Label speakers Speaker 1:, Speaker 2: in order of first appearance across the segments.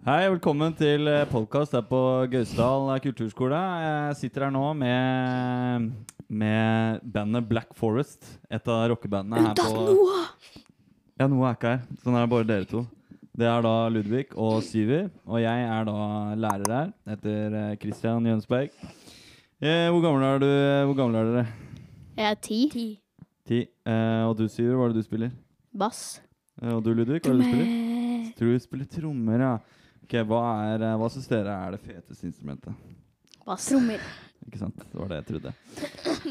Speaker 1: Hei, velkommen til podkast her på Gausdal kulturskole. Jeg sitter her nå med, med bandet Black Forest. Et av rockebandene her
Speaker 2: Unntatt
Speaker 1: på
Speaker 2: Noah!
Speaker 1: Ja, Noah er ikke her. Sånn er det bare dere to. Det er da Ludvig og Syver. Og jeg er da lærer her. Jeg heter eh, Christian Jønsberg. Eh, hvor gammel er du? Hvor gammel er dere?
Speaker 2: Jeg er ti.
Speaker 1: Ti. Eh, og du, Syver, hva er det du spiller?
Speaker 2: Bass.
Speaker 1: Eh, og du, Ludvig, hva er det du spiller? Tror du spiller trommer, ja. Ok, Hva, er, eh, hva syns dere er det feteste instrumentet?
Speaker 2: Bass.
Speaker 1: Ikke sant? Det var det jeg trodde.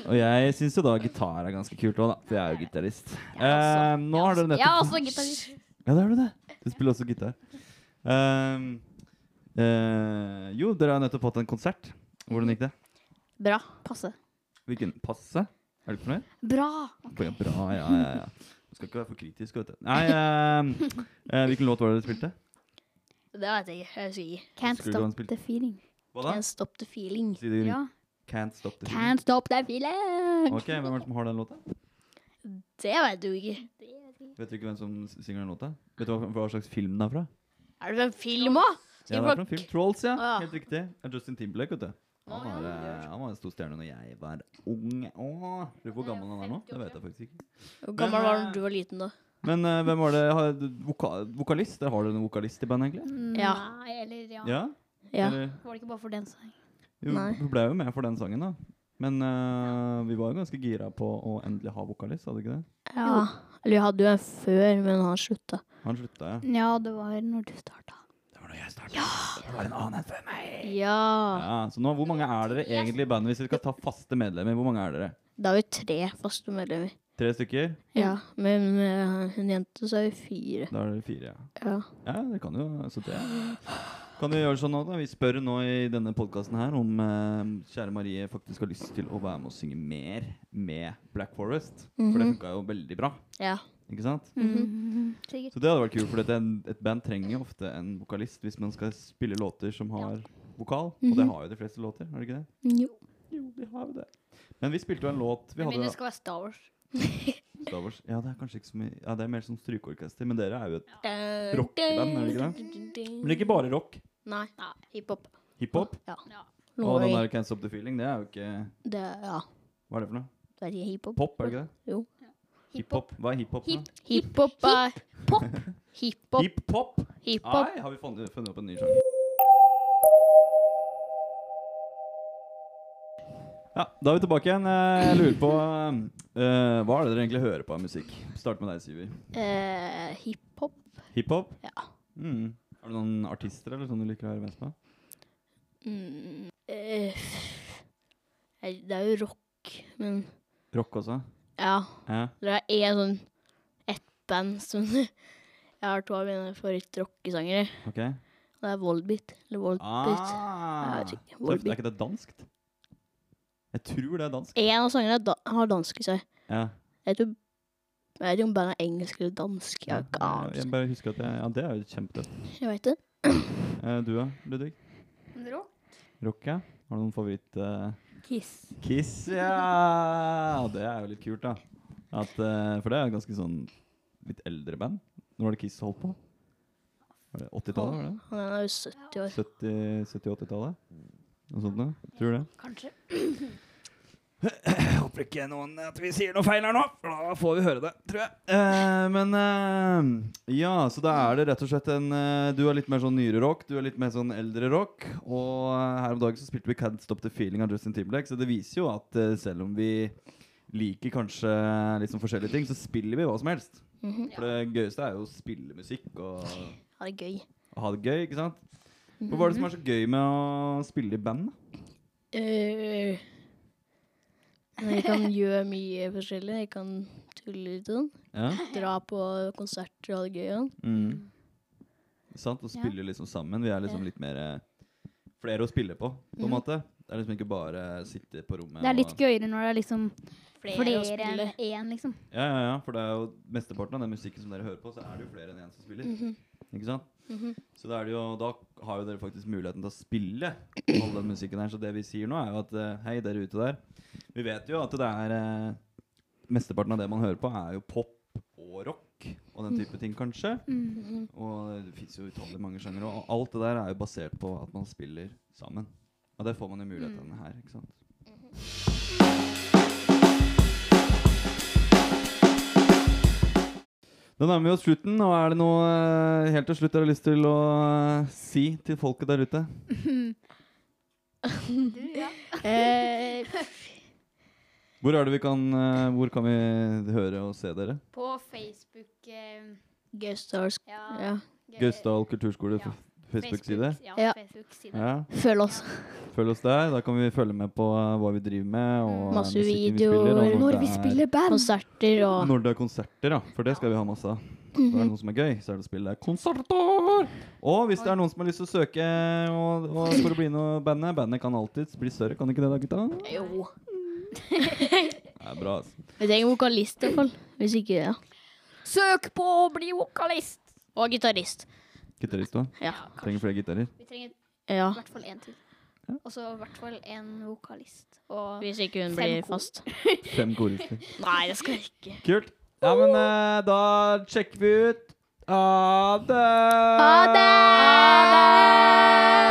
Speaker 1: Og jeg syns jo da gitar er ganske kult òg, da. For jeg er jo gitarist. Eh, nå har dere
Speaker 2: Jeg er også
Speaker 1: nettopp
Speaker 2: gitarist.
Speaker 1: Ja, det er du det. Du spiller også gitar. Ehm, eh, jo, dere har nettopp hatt en konsert. Hvordan gikk det?
Speaker 2: Bra. Passe.
Speaker 1: Hvilken? Passe? Er du fornøyd?
Speaker 2: Bra.
Speaker 1: Ja, Bra, ja, ja, ja. Du skal ikke være for kritisk, vet du. Nei, ehm, eh, hvilken låt var det dere spilte?
Speaker 2: Det vet jeg ikke. Jeg husker ikke.
Speaker 3: Can't
Speaker 1: Skulle du ha en
Speaker 3: stop
Speaker 1: spilt?
Speaker 3: the feeling.
Speaker 1: Hva da?
Speaker 2: Can't stop the feeling.
Speaker 1: Si det, Juni.
Speaker 2: Ja.
Speaker 1: Can't Stop The Feeling.
Speaker 3: Can't stop the feeling.
Speaker 1: Ok, Hvem er det som har den låta?
Speaker 2: Det vet du ikke.
Speaker 1: Vet du ikke hvem som synger den låta? Vet du hva, hva slags film den er fra?
Speaker 2: Er det fra en film òg?
Speaker 1: Ja, det er fra en film. Trolls, ja.
Speaker 2: Ah, ja.
Speaker 1: Helt riktig. Det er Justin Timberlake, vet du. Han
Speaker 2: ja,
Speaker 1: var, eh, han var en stor stjerne når jeg var ung. Åh, Lurer på hvor gammel han er nå. Det vet jeg faktisk ikke.
Speaker 2: Hvor gammel var du da du var liten, da?
Speaker 1: Men eh, hvem var det har, voka, Vokalist? Der har dere en vokalist i bandet, egentlig?
Speaker 2: Ja.
Speaker 3: Nei, eller ja.
Speaker 1: Ja?
Speaker 2: Ja.
Speaker 1: Eller,
Speaker 3: Var det ikke bare for den sangen?
Speaker 1: jo,
Speaker 2: Nei.
Speaker 1: hun ble jo med for den sangen, da. Men eh, vi var jo ganske gira på å endelig ha vokalist, hadde vi ikke det?
Speaker 2: ja. Eller vi hadde jo en før, men han slutta.
Speaker 1: Han slutta, ja.
Speaker 3: Ja, det var når du starta.
Speaker 1: Det var da jeg starta. Det var en annen enn før meg.
Speaker 2: Ja.
Speaker 1: Ja, så nå, hvor mange er dere egentlig i bandet, hvis dere skal ta faste medlemmer? Hvor mange er dere?
Speaker 2: Da er vi tre faste medlemmer.
Speaker 1: Tre stykker?
Speaker 2: Ja. Men med hun jente så er vi fire.
Speaker 1: Da er dere fire, ja.
Speaker 2: Ja.
Speaker 1: Ja, det kan jo så det Kan vi gjøre sånn nå da? Vi spør nå i denne podkasten her om eh, kjære Marie faktisk har lyst til å være med og synge mer med Black Forest. For det funka jo veldig bra,
Speaker 2: Ja.
Speaker 1: ikke sant?
Speaker 3: Mhm. Sikkert.
Speaker 1: Så det hadde vært kult, for dette er en- et band trenger jo ofte en vokalist hvis man skal spille låter som har vokal. Og det har jo de fleste låter, har de ikke det?
Speaker 2: Jo.
Speaker 1: Jo, de har jo det. Men vi spilte jo en låt vi hadde
Speaker 3: skal være Star Wars.
Speaker 1: Star Wars. Ja, det er kanskje ikke så mye Ja, det er mer sånn strykeorkester, men dere er jo et
Speaker 2: Eh,
Speaker 1: Rockeband,
Speaker 2: Rockeband,
Speaker 1: er det ikke Men ikke bare rock.
Speaker 2: Nei. Hiphop.
Speaker 1: Hiphop.
Speaker 2: Ja.
Speaker 3: Ja.
Speaker 1: Og den der Can't Stop The Feeling, det er jo ikke
Speaker 2: Det, ja.
Speaker 1: Hva er det for noe?
Speaker 2: Det er ikke hiphop.
Speaker 1: Pop, er det ikke det?
Speaker 2: Jo.
Speaker 1: Hiphop. Hva er hiphop?
Speaker 3: Hip-
Speaker 1: da?
Speaker 2: Hiphop er pop. Hiphop.
Speaker 1: Hiphop?
Speaker 2: Hiphop.
Speaker 1: Nei, har vi funnet, funnet opp en ny sjanger? Ja, da er vi tilbake igjen. Eh, Jeg lurer på eh, Hva er det dere egentlig hører på av musikk? Start med deg, Syver.
Speaker 2: Eh, hiphop.
Speaker 1: Hiphop?
Speaker 2: Ja.
Speaker 1: Mm. Har du noen artister eller sånn du liker å høre mest på?
Speaker 2: Mm. Eh, nei, det er jo rock, men
Speaker 1: Rock også?
Speaker 2: ja.
Speaker 1: Ja.
Speaker 2: Det er én sånn ett band som Jeg har to av mine favoritt-rockesangere.
Speaker 1: Ok.
Speaker 2: Det er Volbeat. Eller
Speaker 1: Ah,
Speaker 2: Volbeat. Jeg vet ikke.
Speaker 1: tøft. Er ikke det danskt? Jeg tror det er dansk.
Speaker 2: Én av sangerne er da har dansk i seg.
Speaker 1: Ja.
Speaker 2: Jeg vet, jo- jeg vet ikke om bandet er engelsk eller dansk. Jeg har ikke
Speaker 1: jeg, jeg
Speaker 2: anelse.
Speaker 1: bare husker at jeg, Ja, det er jo kjempetøft.
Speaker 2: Jeg vet det.
Speaker 1: Eh, du da, Ludvig?
Speaker 3: Rock.
Speaker 1: Rock, ja. Har du noen favoritt eh,
Speaker 3: Kiss.
Speaker 1: Kiss, ja! Det er jo litt kult, da. At, eh, for det er jo ganske sånn litt eldre band. Når var det Kiss holdt på? Var det 80-tallet? var det?
Speaker 2: Han er jo 70 år.
Speaker 1: 70 70-80-tallet? Noe sånt noe? Tror du det?
Speaker 3: Kanskje.
Speaker 1: Jeg håper ikke noen at vi sier noe feil her nå, for da får vi høre det, tror jeg. men eh, ja, så da er det rett og slett en eh, Du er litt mer sånn nyere rock, du er litt mer sånn eldre rock. Og eh, her om dagen så spilte vi Can't Stop The Feeling av Justin Timberlake, så det viser jo at eh, selv om vi liker kanskje litt sånn forskjellige ting, så spiller vi hva som helst.
Speaker 2: Mhm.
Speaker 1: For det gøyeste er jo å spille musikk og,
Speaker 2: Han er gøy.
Speaker 1: og ha det gøy, ikke sant? Men Hva er det som er så gøy med å spille i band? da?
Speaker 2: Eh, men jeg kan gjøre mye forskjellig. Jeg kan tulle litt sånn.
Speaker 1: Ja.
Speaker 2: Dra på konserter og ha det gøy. Sånn.
Speaker 1: Mm. Sant? Og spiller liksom sammen. Vi er liksom litt mer eh, flere å spille på, på en måte. Det er liksom ikke bare sitte på rommet
Speaker 3: Mm. Det er litt
Speaker 1: og
Speaker 3: gøyere når det er liksom flere
Speaker 2: å
Speaker 3: enn
Speaker 2: spille.
Speaker 3: én, liksom.
Speaker 1: Ja, ja, ja. For det er jo mesteparten av den musikken som dere hører på, så er det jo flere enn én som spiller.
Speaker 3: Mm.
Speaker 2: Mhm,
Speaker 1: Ikke sant? Så da er det jo, da har jo dere faktisk muligheten til å spille all den musikken her. Så det vi sier nå, er jo at eh, hei, dere ute der. Vi vet jo at det er eh, Mesteparten av det man hører på, er jo pop og rock. Og og den type ting, kanskje.
Speaker 3: Mm.
Speaker 2: Mhm.
Speaker 1: Og det fins jo utallig mange sjangere. Og alt det der er jo basert på at man spiller sammen. Og det får man jo
Speaker 2: Mm.
Speaker 1: mulighetene her. ikke sant?
Speaker 2: Mm-hmm.
Speaker 1: Da nærmer vi oss slutten, og er det noe eh, helt til slutt dere har lyst til å eh, si til folket der ute?
Speaker 3: Du, ja.
Speaker 2: Eh,
Speaker 1: Hvor er det vi kan, eh, hvor kan vi høre og se dere?
Speaker 3: På Facebook eh,
Speaker 2: Gaustars.
Speaker 3: Ja.
Speaker 2: Ja.
Speaker 3: Gøy-
Speaker 1: Gausdal kulturskole
Speaker 3: Ja.
Speaker 1: Facebook-side.
Speaker 3: Ja.
Speaker 2: Ja.
Speaker 3: Facebook-side.
Speaker 1: Ja,
Speaker 2: Følg oss.
Speaker 1: Følg oss der. Da kan vi følge med på eh, hva vi driver med. Og eh,
Speaker 2: Masse
Speaker 1: musikken
Speaker 2: videoer.
Speaker 1: Vi spiller, og det er-
Speaker 2: Når
Speaker 3: band.
Speaker 2: Konserter og
Speaker 1: Når det er konserter, ja. For det skal vi ha masse av. Da er det noe som er gøy, så er det å spille konserter. Og hvis det er noen som har lyst til å søke og, og for å bli noe bandet Bandet kan alltids bli større, kan ikke det da, gutta?
Speaker 2: Jo.
Speaker 1: Det er bra. altså.
Speaker 2: Vi trenger vokalist i hvert fall. Hvis ikke, ja.
Speaker 3: Søk på å bli vokalist!
Speaker 2: Og gitarist.
Speaker 1: Gitarist òg.
Speaker 2: Ja.
Speaker 1: Trenger flere gitarer.
Speaker 3: Vi trenger i
Speaker 2: ja.
Speaker 3: hvert fall én til. Og så i hvert fall én vokalist. Og
Speaker 2: Hvis ikke hun
Speaker 3: Fem
Speaker 2: blir
Speaker 3: kor.
Speaker 2: fast.
Speaker 1: Fem korister.
Speaker 2: Nei, det skal jeg ikke.
Speaker 1: Kult. Ja, men eh, da sjekker vi ut. Ha det!
Speaker 2: Ha det!